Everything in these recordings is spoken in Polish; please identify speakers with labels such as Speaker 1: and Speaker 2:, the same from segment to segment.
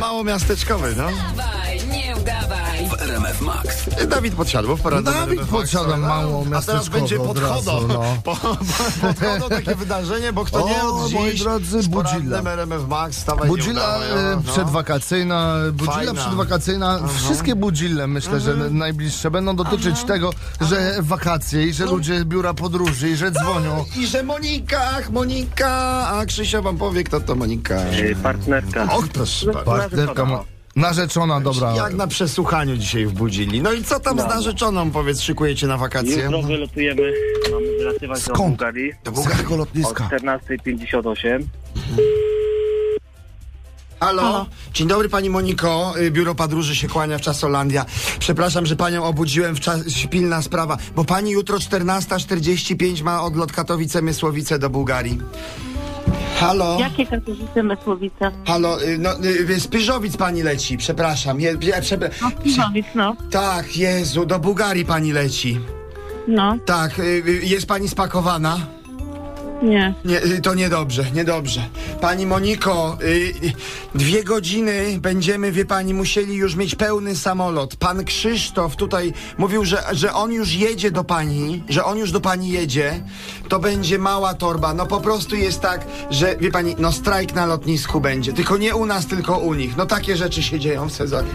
Speaker 1: mało miasteczkowy, no.
Speaker 2: Udawaj, nie udawaj.
Speaker 3: w RMF Max.
Speaker 1: Dawid Podsiadło w porannym
Speaker 4: Dawid
Speaker 1: RMF Max,
Speaker 4: Podsiadło,
Speaker 1: no.
Speaker 4: mało
Speaker 1: A teraz
Speaker 4: miasteczkowy
Speaker 1: będzie
Speaker 4: od
Speaker 1: podchodo.
Speaker 4: razu, no.
Speaker 1: Po, po, podchodo takie wydarzenie, bo kto nie
Speaker 4: O,
Speaker 1: od dziś
Speaker 4: moi drodzy,
Speaker 1: w porannym
Speaker 4: Budzilla.
Speaker 1: RMF Max, stawaj
Speaker 4: Budzilla
Speaker 1: nie udawaj,
Speaker 4: e, przedwakacyjna, budzilla
Speaker 1: no. Fajna. Mhm.
Speaker 4: przedwakacyjna, wszystkie budzille myślę, że najbliższe będą dotyczyć tego,
Speaker 1: Mhm.
Speaker 4: że wakacje i że ludzie biura podróży i że dzwonią.
Speaker 1: No. I że Monika, ach Monika, a Krzysia wam powie, kto to Monika.
Speaker 5: Yy, partnerka.
Speaker 1: Och, proszę bardzo.
Speaker 4: Tak. Partnerka mo- narzeczona, dobra.
Speaker 1: Jak na przesłuchaniu dzisiaj w Budzili. No i co tam z narzeczoną, powiedz, szykujecie na wakacje? No.
Speaker 5: Jutro wylatujemy, mamy wylatywać do
Speaker 4: no. Skąd?
Speaker 5: Bułgarii
Speaker 4: Do bułgarskiego
Speaker 5: o
Speaker 4: lotniska.
Speaker 5: 14.58.
Speaker 1: Halo? Dzień dobry pani Moniko, Y, biuro podróży się kłania w czasolandia. Przepraszam, że panią obudziłem w czas, pilna sprawa, bo pani jutro 14.45 ma odlot Katowice-Mysłowice do Bułgarii. Halo?
Speaker 6: Jakie katowice Mysłowice?
Speaker 1: Halo, y, no, y, z Pyżowic pani leci, przepraszam. Je, je, przepra-
Speaker 6: No, Piżowic, no.
Speaker 1: tak, Jezu, do Bułgarii pani leci.
Speaker 6: No,
Speaker 1: Tak, y, y, jest pani spakowana?
Speaker 6: nie.
Speaker 1: Nie, y, to niedobrze, niedobrze. Pani Moniko, y, y, dwie godziny będziemy, wie pani, musieli już mieć pełny samolot. Pan Krzysztof tutaj mówił, że, że on już jedzie do pani, że on już do pani jedzie. To będzie mała torba. No po prostu jest tak, że, wie pani, no strajk na lotnisku będzie. Tylko nie u nas, tylko u nich. No takie rzeczy się dzieją w sezonie.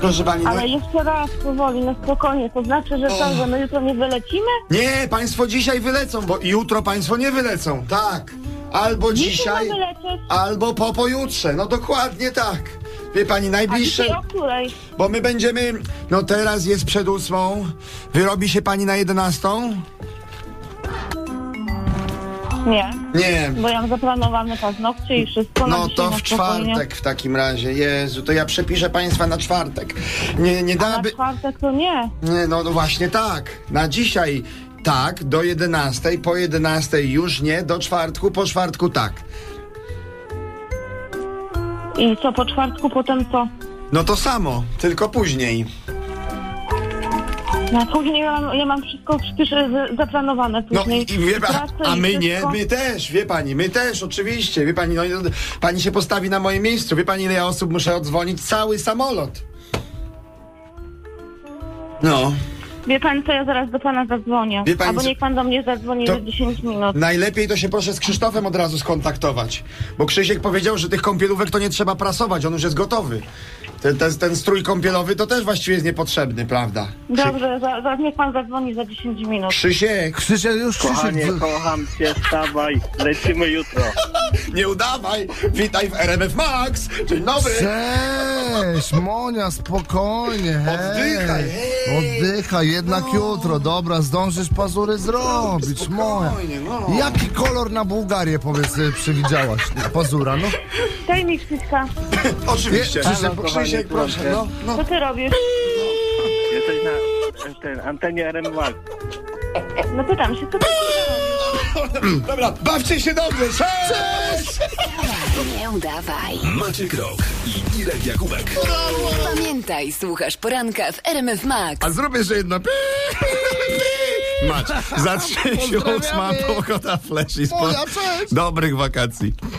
Speaker 1: Proszę pani, no...
Speaker 6: Ale jeszcze raz powoli, na spokojnie. To znaczy, że co, że my jutro nie wylecimy?
Speaker 1: Nie, państwo dzisiaj wylecą, bo jutro państwo nie wylecą. Tak. Albo
Speaker 6: Dzisiaj
Speaker 1: dzisiaj,
Speaker 6: mamy lecieć.
Speaker 1: albo po pojutrze. No dokładnie tak. Wie pani,
Speaker 6: A
Speaker 1: najbliższe,
Speaker 6: dzisiaj o której?
Speaker 1: bo my będziemy, no teraz jest przed ósmą, wyrobi się pani na jedenastą?
Speaker 6: Nie,
Speaker 1: Nie.
Speaker 6: bo ja mam zaplanowane paznokcie i wszystko. No, na
Speaker 1: No
Speaker 6: dzisiaj
Speaker 1: to
Speaker 6: na
Speaker 1: w
Speaker 6: spokojnie.
Speaker 1: czwartek w takim razie. Jezu, to ja przepiszę państwa na czwartek. Nie, nie
Speaker 6: Na
Speaker 1: dałaby...
Speaker 6: czwartek to nie.
Speaker 1: Nie, No, no właśnie tak. Na dzisiaj tak, do 11, po 11 już nie, do czwartku, po czwartku tak.
Speaker 6: I co, po czwartku potem co?
Speaker 1: No to samo, tylko później.
Speaker 6: No później ja mam, ja mam wszystko przecież e, z- zaplanowane
Speaker 1: No
Speaker 6: później.
Speaker 1: i, i wie pa-
Speaker 6: pracę
Speaker 1: a
Speaker 6: i
Speaker 1: my nie,
Speaker 6: wszystko.
Speaker 1: my też, wie pani, my też, oczywiście, wie pani, no, i- pani się postawi na moim miejscu, wie pani ile ja osób muszę odzwonić, cały samolot. No,
Speaker 6: Wie pan co, ja zaraz do pana zadzwonię.
Speaker 1: Wie pani
Speaker 6: Albo
Speaker 1: co-
Speaker 6: niech pan do mnie zadzwoni
Speaker 1: To-
Speaker 6: za 10 minut.
Speaker 1: najlepiej to się proszę z Krzysztofem od razu skontaktować, bo Krzysiek powiedział, że tych kąpielówek to nie trzeba prasować, on już jest gotowy. Ten, ten, ten strój kąpielowy to też właściwie jest niepotrzebny, prawda?
Speaker 6: Dobrze, za, zaraz niech pan zadzwoni za 10 minut.
Speaker 1: Krzysiek,
Speaker 4: Krzysiek, już Krzysiek.
Speaker 5: Kochanie,
Speaker 4: w-
Speaker 5: kocham cię, stawaj, lecimy jutro.
Speaker 1: nie udawaj, witaj w RMF Max, dzień dobry.
Speaker 4: Cześć, Monia, spokojnie. hej.
Speaker 1: Oddychaj, hej. No.
Speaker 4: Oddychaj, jednak jutro, dobra, zdążysz pazury zrobić,
Speaker 1: Spokojnie,
Speaker 4: Moja.
Speaker 1: no.
Speaker 4: Jaki kolor na Bułgarię, powiedz, y, przewidziałaś na pazura, no?
Speaker 6: Daj mi Krzyśka,
Speaker 1: Oczywiście.
Speaker 4: Krzysiek,
Speaker 1: Halo,
Speaker 5: kochani,
Speaker 1: Krzysiek, proszę, no, no.
Speaker 6: co ty robisz?
Speaker 5: Jesteś na e, ten, antenie RM Max.
Speaker 6: No pytam się, co ty
Speaker 1: Dobra, bawcie się dobrze, cześć!
Speaker 2: Nie udawaj.
Speaker 3: Maciek Rok i Irek Jakubek.
Speaker 2: Pamiętaj, słuchasz poranka w RMF Max.
Speaker 1: A zrobię jeszcze jedno. Pi, pi, pi. Mać, zatrzymaj się ósma, pogoda flash i spod...
Speaker 4: Moja, cześć!
Speaker 1: Dobrych wakacji.